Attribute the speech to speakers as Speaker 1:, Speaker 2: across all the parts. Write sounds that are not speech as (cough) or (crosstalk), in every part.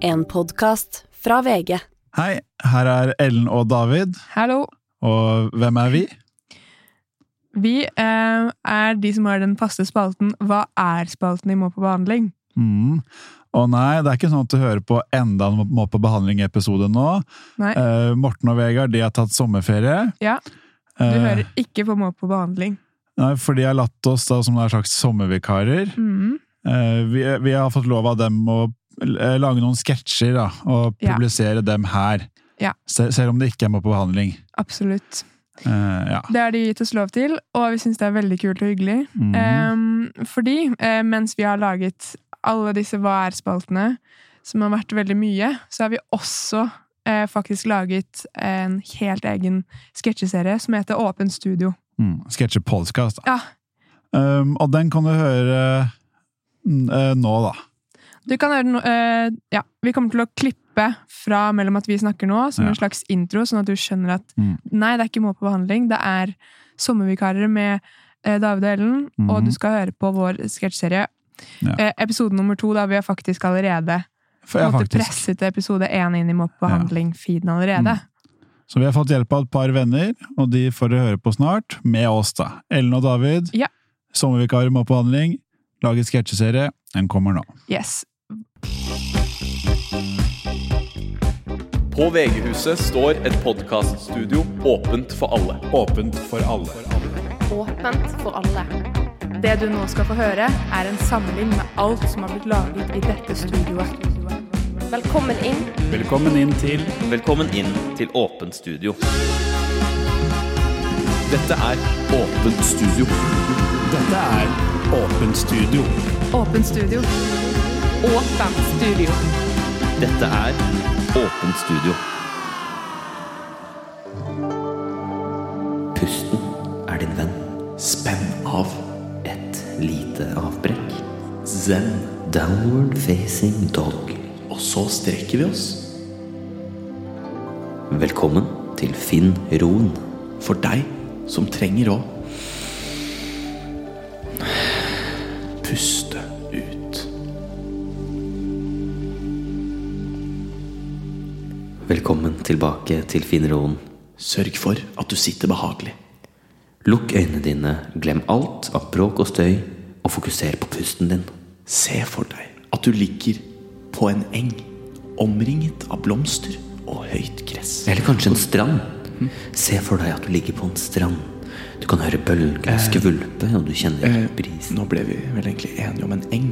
Speaker 1: En podkast fra VG.
Speaker 2: Hei, her er Ellen og David,
Speaker 3: Hallo.
Speaker 2: og hvem er vi?
Speaker 3: Vi eh, er de som har den faste spalten Hva er spalten i Må på behandling?
Speaker 2: Mm. Og nei, det er ikke sånn at du hører på enda en Må på behandling-episode nå.
Speaker 3: Nei,
Speaker 2: Eh, Morten og Vegard de har tatt sommerferie.
Speaker 3: Ja, du
Speaker 2: Eh,
Speaker 3: hører ikke på Må på behandling.
Speaker 2: Nei, for de har latt oss da som en slags sommervikarer.
Speaker 3: Mm.
Speaker 2: Eh, vi, vi har fått lov av dem å eh, lage noen sketsjer da, og
Speaker 3: Ja.
Speaker 2: publisere dem her.
Speaker 3: Ja.
Speaker 2: Se- selv om det ikke er Må på behandling.
Speaker 3: Absolutt.
Speaker 2: Eh, ja.
Speaker 3: Det har de gitt oss lov til, og vi syns det er veldig kult og hyggelig.
Speaker 2: Mhm.
Speaker 3: Eh, fordi eh, mens vi har laget alle disse Hva er-spaltene, som har vært veldig mye, så har vi også eh, faktisk laget en helt egen sketsjeserie som heter Åpen studio.
Speaker 2: Mm, Sketsjer podcast, da.
Speaker 3: Ja,
Speaker 2: Um, og den kan du høre mm, eh, nå, da.
Speaker 3: Du kan høre no eh, ja, Vi kommer til å klippe fra mellom at vi snakker nå, som
Speaker 2: Ja.
Speaker 3: en slags intro, sånn at du skjønner at
Speaker 2: Mm.
Speaker 3: nei, det er ikke må på behandling, det er sommervikarer med eh, David og Ellen,
Speaker 2: Mhm.
Speaker 3: og du skal høre på vår sketsjserie.
Speaker 2: Ja.
Speaker 3: Eh, episode nummer to, da vi har faktisk allerede
Speaker 2: For
Speaker 3: på en
Speaker 2: jeg
Speaker 3: måte,
Speaker 2: faktisk
Speaker 3: presset episode én inn i Må på
Speaker 2: Ja. Mm.
Speaker 3: behandling-feeden allerede.
Speaker 2: Så vi har fått hjelp av et par venner, og de får dere høre på snart, med oss da. Ellen og David,
Speaker 3: Ja.
Speaker 2: sommervikarer må på handling, lager sketsjeserie, den kommer nå.
Speaker 3: Yes.
Speaker 4: På VG-huset står et podkaststudio åpent for alle.
Speaker 2: Åpent for alle.
Speaker 5: åpent for alle.
Speaker 3: Det du nå skal få høre, er en samling med alt som har blitt laget i dette studioet.
Speaker 5: Velkommen inn.
Speaker 2: Velkommen inn til
Speaker 4: Velkommen inn til Åpent studio. Dette er Åpent studio.
Speaker 6: Dette er Åpent studio.
Speaker 3: Åpen studio.
Speaker 5: Åpent studio.
Speaker 4: Dette er Åpent studio. Pusten er din venn. Spenn av. Et lite avbrekk. Zen. Downward facing dog. Og så strekker vi oss. Velkommen til Finn roen. For deg som trenger å puste ut.
Speaker 7: Velkommen tilbake til Finneroen.
Speaker 4: Sørg for at du sitter behagelig.
Speaker 7: Lukk øynene dine, glem alt av bråk og støy, og fokuser på pusten din.
Speaker 4: Se for deg at du ligger på en eng, omringet av blomster og høyt gress.
Speaker 7: Eller kanskje en strand. Se for deg at du ligger på en strand. Du kan høre bølgene skvulpe, og du kjenner brisen.
Speaker 4: Nå ble vi vel egentlig enige om en eng.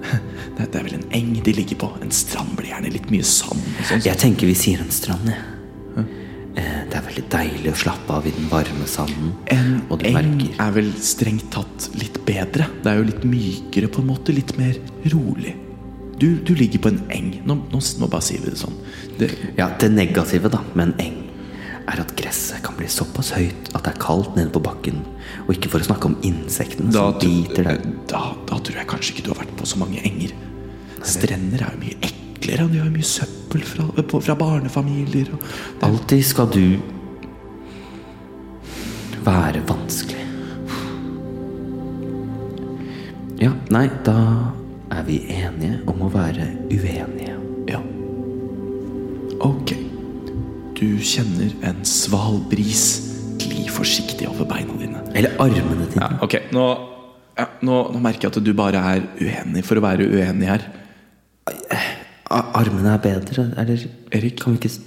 Speaker 4: (laughs) Det det er vel en eng de ligger på. En strand blir gjerne litt mye sand. og sånn.
Speaker 7: Jeg tenker vi sier en strand, jeg. Eh, Det er veldig deilig å slappe av i den varme sanden.
Speaker 4: En
Speaker 7: Og du
Speaker 4: eng
Speaker 7: merker
Speaker 4: er vel strengt tatt litt bedre. Det er jo litt mykere på en måte. Litt mer rolig. Du, du ligger på en eng. Nå, nå, nå bare sier vi det sånn. Det,
Speaker 7: Ja, det negative da med en eng er at gresset kan bli såpass høyt at det er kaldt nede på bakken. Og ikke for å snakke om insektene som biter deg.
Speaker 4: Da, da tror jeg kanskje ikke du har vært på så mange enger. Strender er jo mye eklere, og de har jo mye søppel fra, på- fra barnefamilier. Og det,
Speaker 7: Alltid skal du være vanskelig. Ja, nei, da er vi enige om å være uenige.
Speaker 4: ja. Ok. Du kjenner en sval bris gli forsiktig over beina dine.
Speaker 7: Eller armene dine.
Speaker 4: Ja, ok, nå, ja, nå, nå merker jeg at du bare er uenig for å være uenig her.
Speaker 7: A- Armene er bedre, eller
Speaker 4: Erik?
Speaker 7: Kan vi ikke s-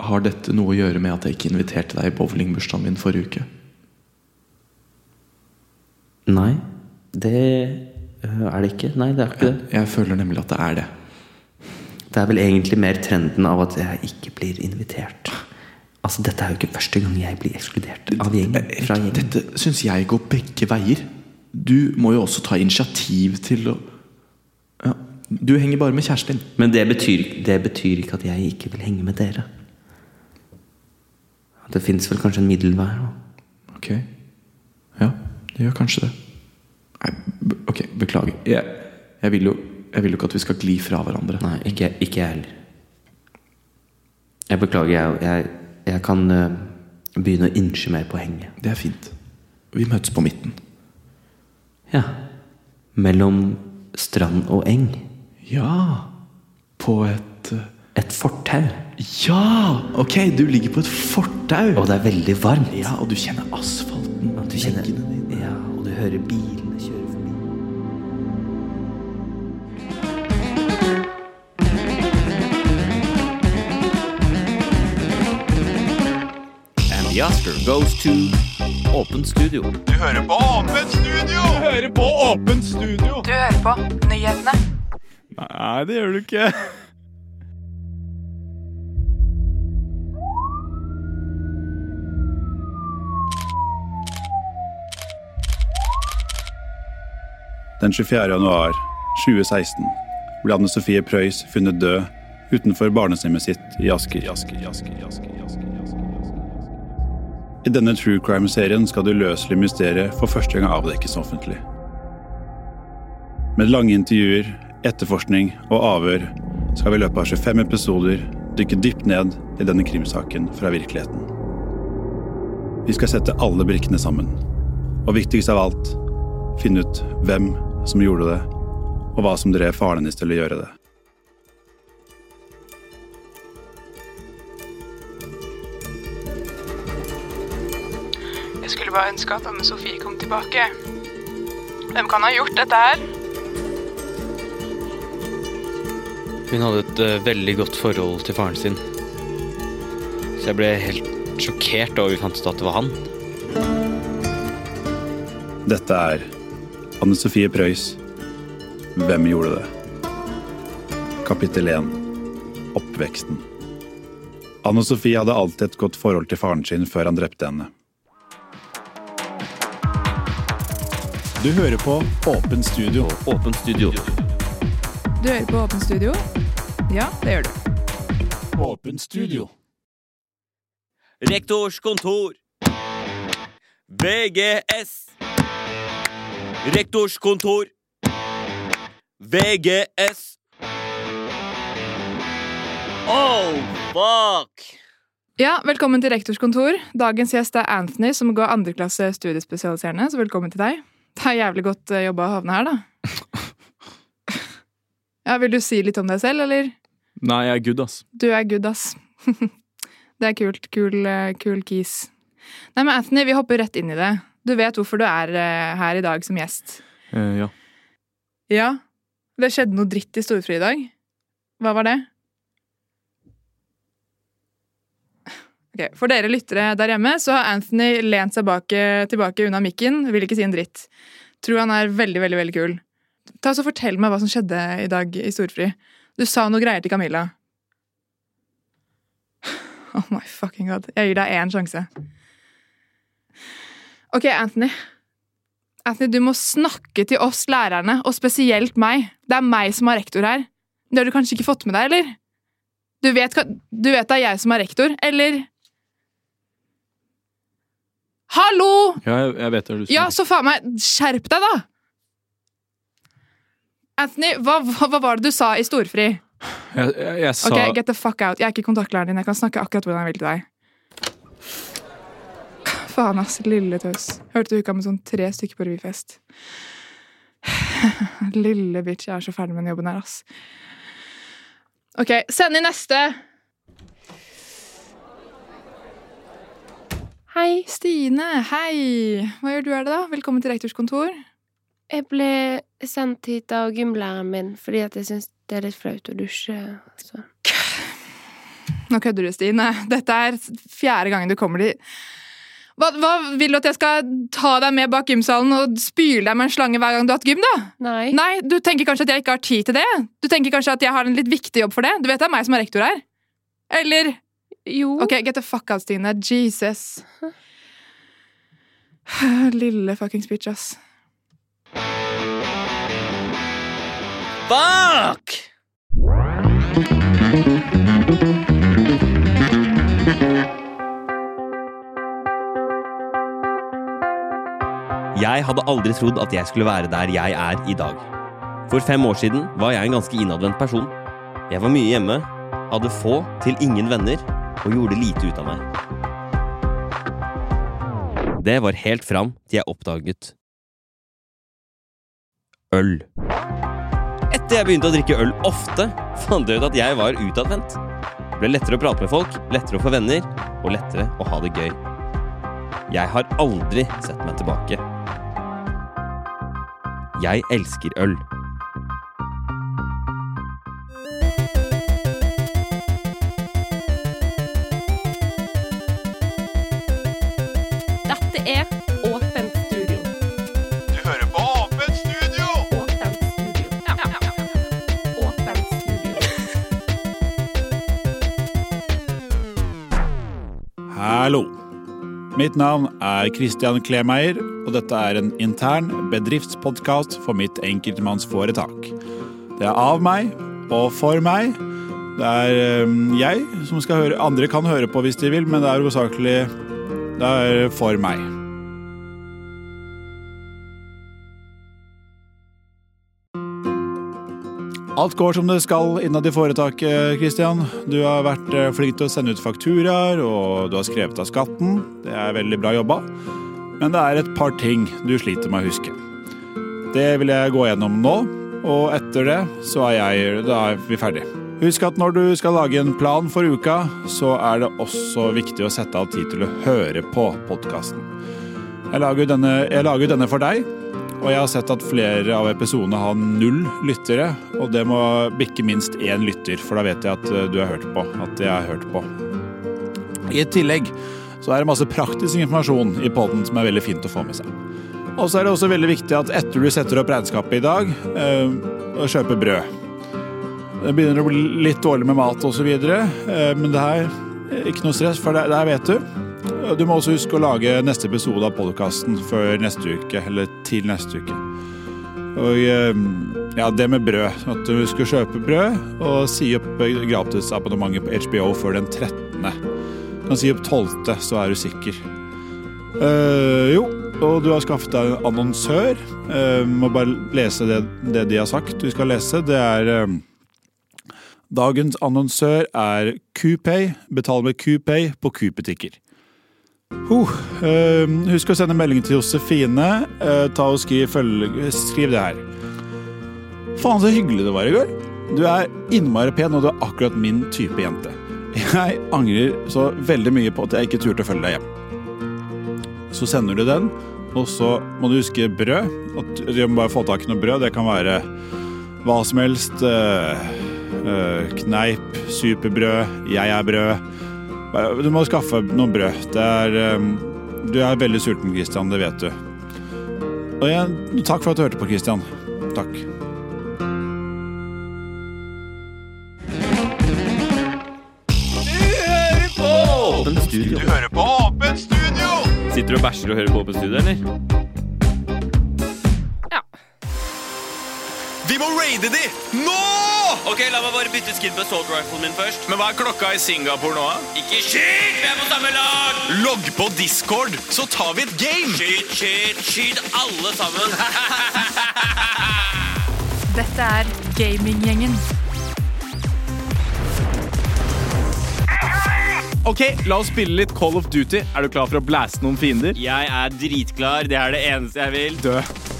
Speaker 4: Har dette noe å gjøre med at jeg ikke inviterte deg i bowlingbursdagen min forrige uke?
Speaker 7: Nei, det øh, er det ikke. Nei, det er ikke det.
Speaker 4: Jeg føler nemlig at det er det.
Speaker 7: Det er vel egentlig mer trenden av at jeg ikke blir invitert. Altså, dette er jo ikke første gang jeg blir ekskludert av gjengen.
Speaker 4: Eh,
Speaker 7: Fra gjengen.
Speaker 4: Dette syns jeg går begge veier. Du må jo også ta initiativ til å ja. Du henger bare med kjæresten din.
Speaker 7: Men det betyr, det betyr ikke at jeg ikke vil henge med dere. Det fins vel kanskje en middelvei? da.
Speaker 4: Ok. Ja, det gjør kanskje det. Nei, be- ok, beklager. Jeg, jeg, vil jo, jeg vil jo ikke at vi skal gli fra hverandre.
Speaker 7: Nei, ikke, ikke jeg heller. Jeg beklager, jeg, jeg, jeg kan øh, begynne å ynske mer på henget.
Speaker 4: Det er fint. Vi møtes på midten.
Speaker 7: Ja. Mellom strand og eng.
Speaker 4: Ja På et eh,
Speaker 7: Et fortau.
Speaker 4: Ja! Ok, du ligger på et fortau.
Speaker 7: Og det er veldig varmt.
Speaker 4: Ja, og du kjenner asfalten.
Speaker 7: Du kjenner
Speaker 4: Veggene dine.
Speaker 7: Ja, og du hører bilene kjøre forbi.
Speaker 4: And the Oscar goes to Åpent studio.
Speaker 8: Du hører på nyhetene.
Speaker 9: Nei, det gjør du ikke.
Speaker 2: Den 24. januar 2016 ble Anne Sofie Preus funnet død utenfor barnehjemmet sitt i Asker. I denne true crime-serien skal det uløselige mysteriet for første gang avdekkes offentlig. Med lange intervjuer, etterforskning og avhør skal vi i løpet av 25 episoder dykke dypt ned i denne krimsaken fra virkeligheten. Vi skal sette alle brikkene sammen. Og viktigst av alt finne ut hvem som gjorde det, og hva som drev faren hennes til å gjøre det.
Speaker 8: Jeg skulle bare ønske at Anne Sofie kom tilbake. Hvem kan ha gjort dette her?
Speaker 6: Hun hadde et eh, veldig godt forhold til faren sin. Så jeg ble helt sjokkert da vi fant ut at det var han.
Speaker 2: Dette er Anne Sofie Preus. Hvem gjorde det? Kapittel 1. Oppveksten. Anne Sofie hadde alltid et godt forhold til faren sin før han drepte henne.
Speaker 10: Du hører på Åpent studio.
Speaker 4: Åpent studio.
Speaker 8: Du hører på Åpen studio? Ja, det gjør du.
Speaker 10: Åpent studio.
Speaker 6: Rektors kontor. VGS. Rektors kontor. VGS. Oh, fuck!
Speaker 3: Ja, Velkommen til rektors kontor. Dagens gjest er Anthony, som går andreklasse studiespesialiserende. Så velkommen til deg. Det er jævlig godt eh, jobba å havne her, da. Ja, Vil du si litt om deg selv, eller?
Speaker 9: Nei, jeg er good, ass.
Speaker 3: Du er good, ass. (laughs) Det er kult. Kul, eh, kul kis. Nei, men Anthony, vi hopper rett inn i det. Du vet hvorfor du er eh, her i dag som gjest.
Speaker 9: Eh, ja.
Speaker 3: Ja. Det skjedde noe dritt i storfri i dag. Hva var det? Ok, For dere lyttere der hjemme, så har Anthony lent seg bak, tilbake unna mikken. Vil ikke si en dritt. Tror han er veldig, veldig veldig kul. Ta så Fortell meg hva som skjedde i dag i storfri. Du sa noe greier til Camilla. Oh my fucking god. Jeg gir deg én sjanse. Ok, Anthony. Anthony, du må snakke til oss lærerne, og spesielt meg. Det er meg som er rektor her. Det har du kanskje ikke fått med deg, eller? Du vet, hva- du vet det er jeg som er rektor, eller? Hallo!
Speaker 9: ja jeg, jeg vet det du sier.
Speaker 3: Ja, så faen meg, skjerp deg da! Anthony, hva, hva, hva var det du sa i storfri?
Speaker 9: jeg, jeg, jeg sa
Speaker 3: Ok, get the fuck out. Jeg er ikke kontaktlæreren din. Jeg kan snakke akkurat hvordan jeg vil til deg. Faen, ass. Lille tøs. Hørte du ikke med sånn tre stykker på revyfest? (sighs) Lille bitch. Jeg er så ferdig med den jobben her, ass. OK, send inn neste.
Speaker 5: Hei,
Speaker 3: Stine, hei. Hva gjør du her, da? Velkommen til rektors kontor.
Speaker 5: jeg ble sendt hit av gymlæreren min fordi at jeg syns det er litt flaut å dusje. Så.
Speaker 3: Nå kødder du, Stine. Dette er fjerde gangen du kommer dit. Hva, hva vil du at jeg skal ta deg med bak gymsalen og spyle deg med en slange hver gang du har hatt gym, da?
Speaker 5: Nei.
Speaker 3: Nei, du tenker kanskje at jeg ikke har tid til det? Du tenker kanskje at jeg har en litt viktig jobb for det? Du vet det er meg som er rektor her? Eller
Speaker 5: Jo.
Speaker 3: Ok, get the fuck out, Stine. Jesus. (sighs) Lille fuckings bitch, ass.
Speaker 6: Fuck! Jeg hadde aldri trodd at jeg skulle være der jeg er i dag. For fem år siden var jeg en ganske innadvendt person. Jeg var mye hjemme, hadde få til ingen venner og gjorde lite ut av meg. Det var helt fram til jeg oppdaget øl. Etter jeg begynte å drikke øl ofte, fant jeg ut at jeg var utadvendt. Det ble lettere å prate med folk, lettere å få venner, og lettere å ha det gøy. Jeg har aldri sett meg tilbake. Jeg elsker øl.
Speaker 11: Dette er Åpent studio.
Speaker 10: Du hører på Åpent studio!
Speaker 2: Hallo. Mitt navn er Christian Klemeier, og dette er en intern bedriftspodkast for mitt enkeltmannsforetak. Det er av meg og for meg. Det er øhm, jeg som skal høre Andre kan høre på hvis de vil, men det er hovedsakelig det er for meg. Alt går som det skal innad i foretaket, Christian. Du har vært eh, flink til å sende ut fakturaer, og du har skrevet av skatten. Det er veldig bra jobba. Men det er et par ting du sliter med å huske. Det vil jeg gå gjennom nå, og etter det så er, jeg, da er vi ferdig. Husk at når du skal lage en plan for uka, så er det også viktig å sette av tid til å høre på podkasten. Jeg lager jo denne, jeg lager jo denne for deg, og jeg har sett at flere av episodene har null lyttere, og det må bikke minst én lytter, for da vet jeg at eh, du har hørt på. At jeg har hørt på. I tillegg så er det masse praktisk informasjon i poden som er veldig fint å få med seg. Og så er det også veldig viktig at etter du setter opp regnskapet i dag, eh, å kjøpe brød. Det begynner å bli litt dårlig med mat osv., men det er eh, ikke noe stress, for det, det her vet du. Du må også huske å lage neste episode av podkasten før neste uke, eller til neste uke. Og eh, ja, det med brød. At du skal kjøpe brød og si opp gratisabonnementet på HBO før den 13. Du kan si opp 12., så er du sikker. Eh, jo, og du har skaffet deg en annonsør. Eh, må bare lese det, det de har sagt du skal lese. Det er eh, Dagens annonsør er Coupay. Betal med Coupay på Coop-butikker. Huh, eh, husk å sende melding til Josefine. Eh, ta og skriv, følge, skriv det her. Faen, så hyggelig det var i går. Du er innmari pen, og du er akkurat min type jente. Jeg angrer så veldig mye på at jeg ikke turte å følge deg hjem. Så sender du den, og så må du huske brød. At du må bare få tak i noe brød. Det kan være hva som helst. eh, eh, kneip, superbrød, jeg er brød. Bare- Du må skaffe noe brød. Det er, eh, du er veldig sulten, Christian. Det vet du. Og igjen, takk for at du hørte på, Christian. Takk.
Speaker 6: Åpent studio. Du hører på Åpent studio! Sitter du og bæsjer og hører på Åpent studio, eller?
Speaker 12: Vi må raide de! Nå! Ok, La meg bare bytte skin på assault riflen min først. Men Hva er klokka i Singapore nå? Ikke skyt! Vi er på samme lag! Logg på Discord, så tar vi et game! Skyt, skyt, skyt alle sammen! (laughs)
Speaker 3: Dette er gaminggjengen.
Speaker 9: Ok, la oss spille litt Call of Duty. Er du klar for å blæse noen fiender?
Speaker 6: Jeg er dritklar. Det er det eneste jeg vil.
Speaker 9: Dø.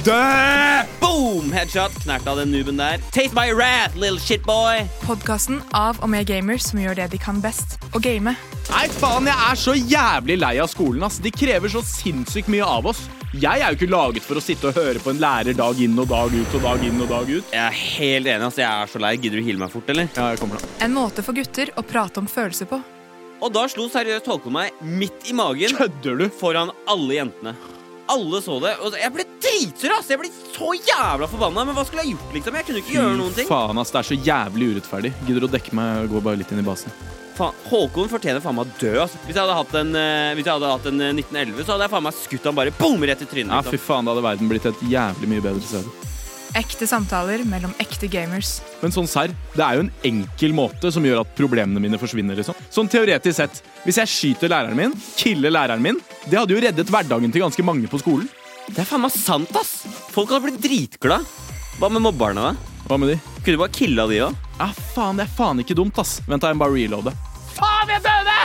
Speaker 6: Dø! Boom! Headshot. Knert av den nuben der. Taste my wrath, little shitboy.
Speaker 3: Podkasten av og med gamers som gjør det de kan best, å game.
Speaker 9: Nei, faen, jeg er så jævlig lei av skolen, ass. De krever så sinnssykt mye av oss. Jeg er jo ikke laget for å sitte og høre på en lærer dag inn og dag ut og dag inn og dag ut.
Speaker 6: Jeg er helt enig. ass. Jeg er så lei. Gidder du heale meg fort, eller?
Speaker 9: Ja, jeg kommer da.
Speaker 3: En måte for gutter å prate om følelser på.
Speaker 6: Og da slo seriøst Håkon meg midt i magen foran alle jentene. Alle så det. Og jeg ble dritsur, ass! Jeg ble så jævla forbanna. Men hva skulle jeg gjort, liksom? Jeg kunne ikke gjøre noen ting.
Speaker 9: faen, ass. Det er så jævlig urettferdig. Gidder du å dekke meg? Jeg Går bare litt inn i basen.
Speaker 6: Faen, Håkon fortjener faen meg å dø. ass. Hvis jeg hadde hatt en, eh, hvis jeg hadde hatt en eh, 1911, så hadde jeg faen meg skutt han bare boom rett i trynet.
Speaker 9: Ja,
Speaker 6: liksom.
Speaker 9: fy faen, da hadde verden blitt et jævlig mye bedre sted.
Speaker 3: Ekte samtaler mellom ekte gamers.
Speaker 9: Men sånn serr, det er jo en enkel måte som gjør at problemene mine forsvinner. liksom. Sånn teoretisk sett, hvis jeg skyter læreren min, killer læreren min, det hadde jo reddet hverdagen til ganske mange på skolen.
Speaker 6: Det er faen meg sant, ass! Folk hadde blitt dritglad. Hva med mobberne, da?
Speaker 9: Hva med de?
Speaker 6: Kunne du bare killa de òg?
Speaker 9: Ja, faen, det er faen ikke dumt, ass. Vent, da, jeg må bare reloade.
Speaker 3: Faen, jeg døde!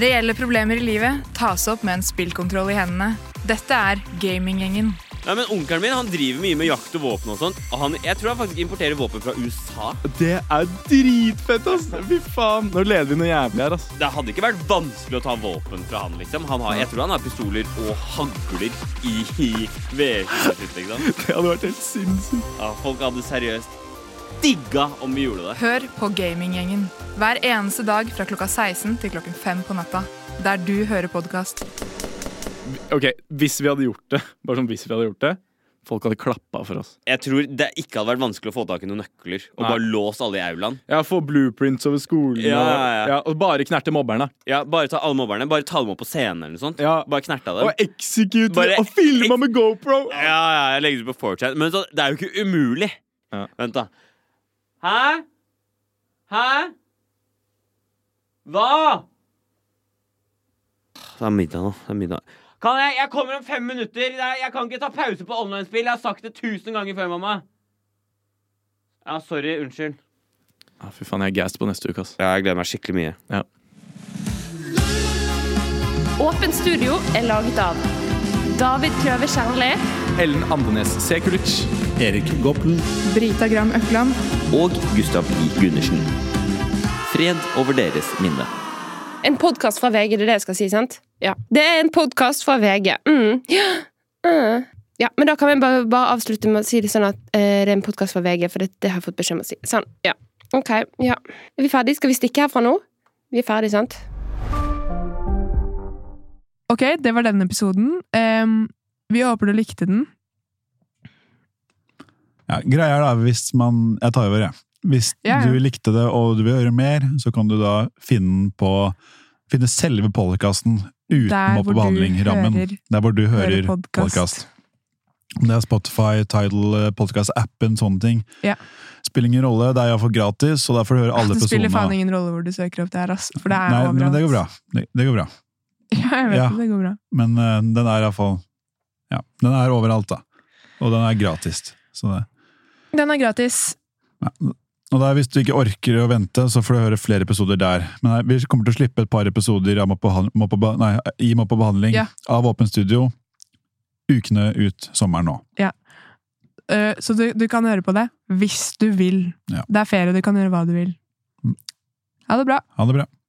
Speaker 3: Reelle problemer i livet tas opp med en spillkontroll i hendene. Dette er gaminggjengen.
Speaker 6: Nei, men Onkelen min han driver mye med jakt og våpen og sånt. Og han, jeg tror han faktisk importerer våpen fra USA.
Speaker 4: Det er dritfett, ass! Fy faen. Nå leder vi noe jævlig her, ass.
Speaker 6: Det hadde ikke vært vanskelig å ta våpen fra han, liksom. Han har, jeg tror han har pistoler og hagler i, i vedskiftet sitt, liksom.
Speaker 4: Det hadde vært helt sinnssykt.
Speaker 6: Ja, folk hadde seriøst digga om vi gjorde det.
Speaker 13: Hør på Gaminggjengen hver eneste dag fra klokka 16 til klokken 5 på natta. Der du hører podkast.
Speaker 4: Ok, Hvis vi hadde gjort det, bare sånn hvis vi hadde gjort det Folk hadde klappa for oss.
Speaker 6: Jeg tror det ikke hadde vært vanskelig å få tak i noen nøkler. Og
Speaker 4: Nei.
Speaker 6: bare låse alle i aulaen.
Speaker 4: Ja, Få blueprints over skolen.
Speaker 6: Ja,
Speaker 4: og-
Speaker 6: ja, ja.
Speaker 4: og bare knerte mobberne.
Speaker 6: Ja, Bare ta alle mobberne. Bare ta dem opp på scenen eller noe sånt. Bare knerta dem.
Speaker 4: Og execute
Speaker 6: Bare-
Speaker 4: og filma med GoPro!
Speaker 6: Ja, ja, jeg legger det på 4chan. Men så, det er jo ikke umulig. Vent, da. Hæ? Hæ? Hva? Det er middag nå. Det er middag. Kan jeg, jeg kommer om fem minutter. Det er- Jeg kan ikke ta pause på online-spill. Jeg har sagt det tusen ganger før, mamma. Ja, sorry. Unnskyld.
Speaker 4: Ja, fy faen, jeg er gassed på neste uke, ass.
Speaker 6: Ja, jeg gleder meg skikkelig mye.
Speaker 4: Ja.
Speaker 14: Åpent studio er laget av David Kløve Kjernli.
Speaker 4: Ellen Andenes Sekulic.
Speaker 15: Erik Goppelen.
Speaker 13: Brita Gram Økland.
Speaker 7: Og Gustav Li Gundersen. Fred over deres minne.
Speaker 5: En podkast fra VG, det er det jeg skal si, sant? Ja. Det er en podkast fra VG. Mm. Ja. Mm. ja, men da kan vi bare, bare avslutte med å si det sånn at eh, det er en podkast fra VG, for det, det har jeg fått beskjed om å si. Sånn, ja. Ok, ja. Er vi ferdige? Skal vi stikke herfra nå? Vi er ferdige, sant?
Speaker 3: Ok, det var denne episoden. Em, vi håper du likte den.
Speaker 2: Ja, greia er da, hvis man Jeg tar over, jeg. Hvis
Speaker 3: Ja, ja.
Speaker 2: du likte det og du vil høre mer, så kan du da finne den på Finne selve podkasten
Speaker 3: Der
Speaker 2: utenom
Speaker 3: hvor
Speaker 2: på
Speaker 3: du
Speaker 2: behandling-rammen.
Speaker 3: hører-
Speaker 2: Der hvor du
Speaker 3: hører
Speaker 2: hører
Speaker 3: podcast.
Speaker 2: podkast. Om Det er Spotify, Tidal, podkast-appen, sånne ting.
Speaker 3: Ja.
Speaker 2: Spiller ingen rolle, det er iallfall gratis, og derfor hører
Speaker 3: (laughs)
Speaker 2: alle
Speaker 3: Altså, Det spiller
Speaker 2: episodene.
Speaker 3: faen ingen rolle hvor du søker opp det her, ass. For det er
Speaker 2: Nei,
Speaker 3: overalt.
Speaker 2: men det går bra. Det, det går bra.
Speaker 3: (laughs) Ja, jeg vet
Speaker 2: Ja.
Speaker 3: det, det går bra.
Speaker 2: Men eh, den er iallfall Ja, den er overalt, da. Og den er gratis. Så det
Speaker 3: Den er gratis.
Speaker 2: Og der, Hvis du ikke orker å vente, så får du høre flere episoder der. Men nei, vi kommer til å slippe et par episoder av Må på, Han- må på, Ba- nei, i Må på behandling
Speaker 3: Ja.
Speaker 2: av Åpen studio ukene ut sommeren nå.
Speaker 3: Ja. Eh, så du, du kan høre på det hvis du vil.
Speaker 2: Ja. Mm.
Speaker 3: Det er ferie, og du kan gjøre hva du vil. Ha det bra.
Speaker 2: Ha det bra.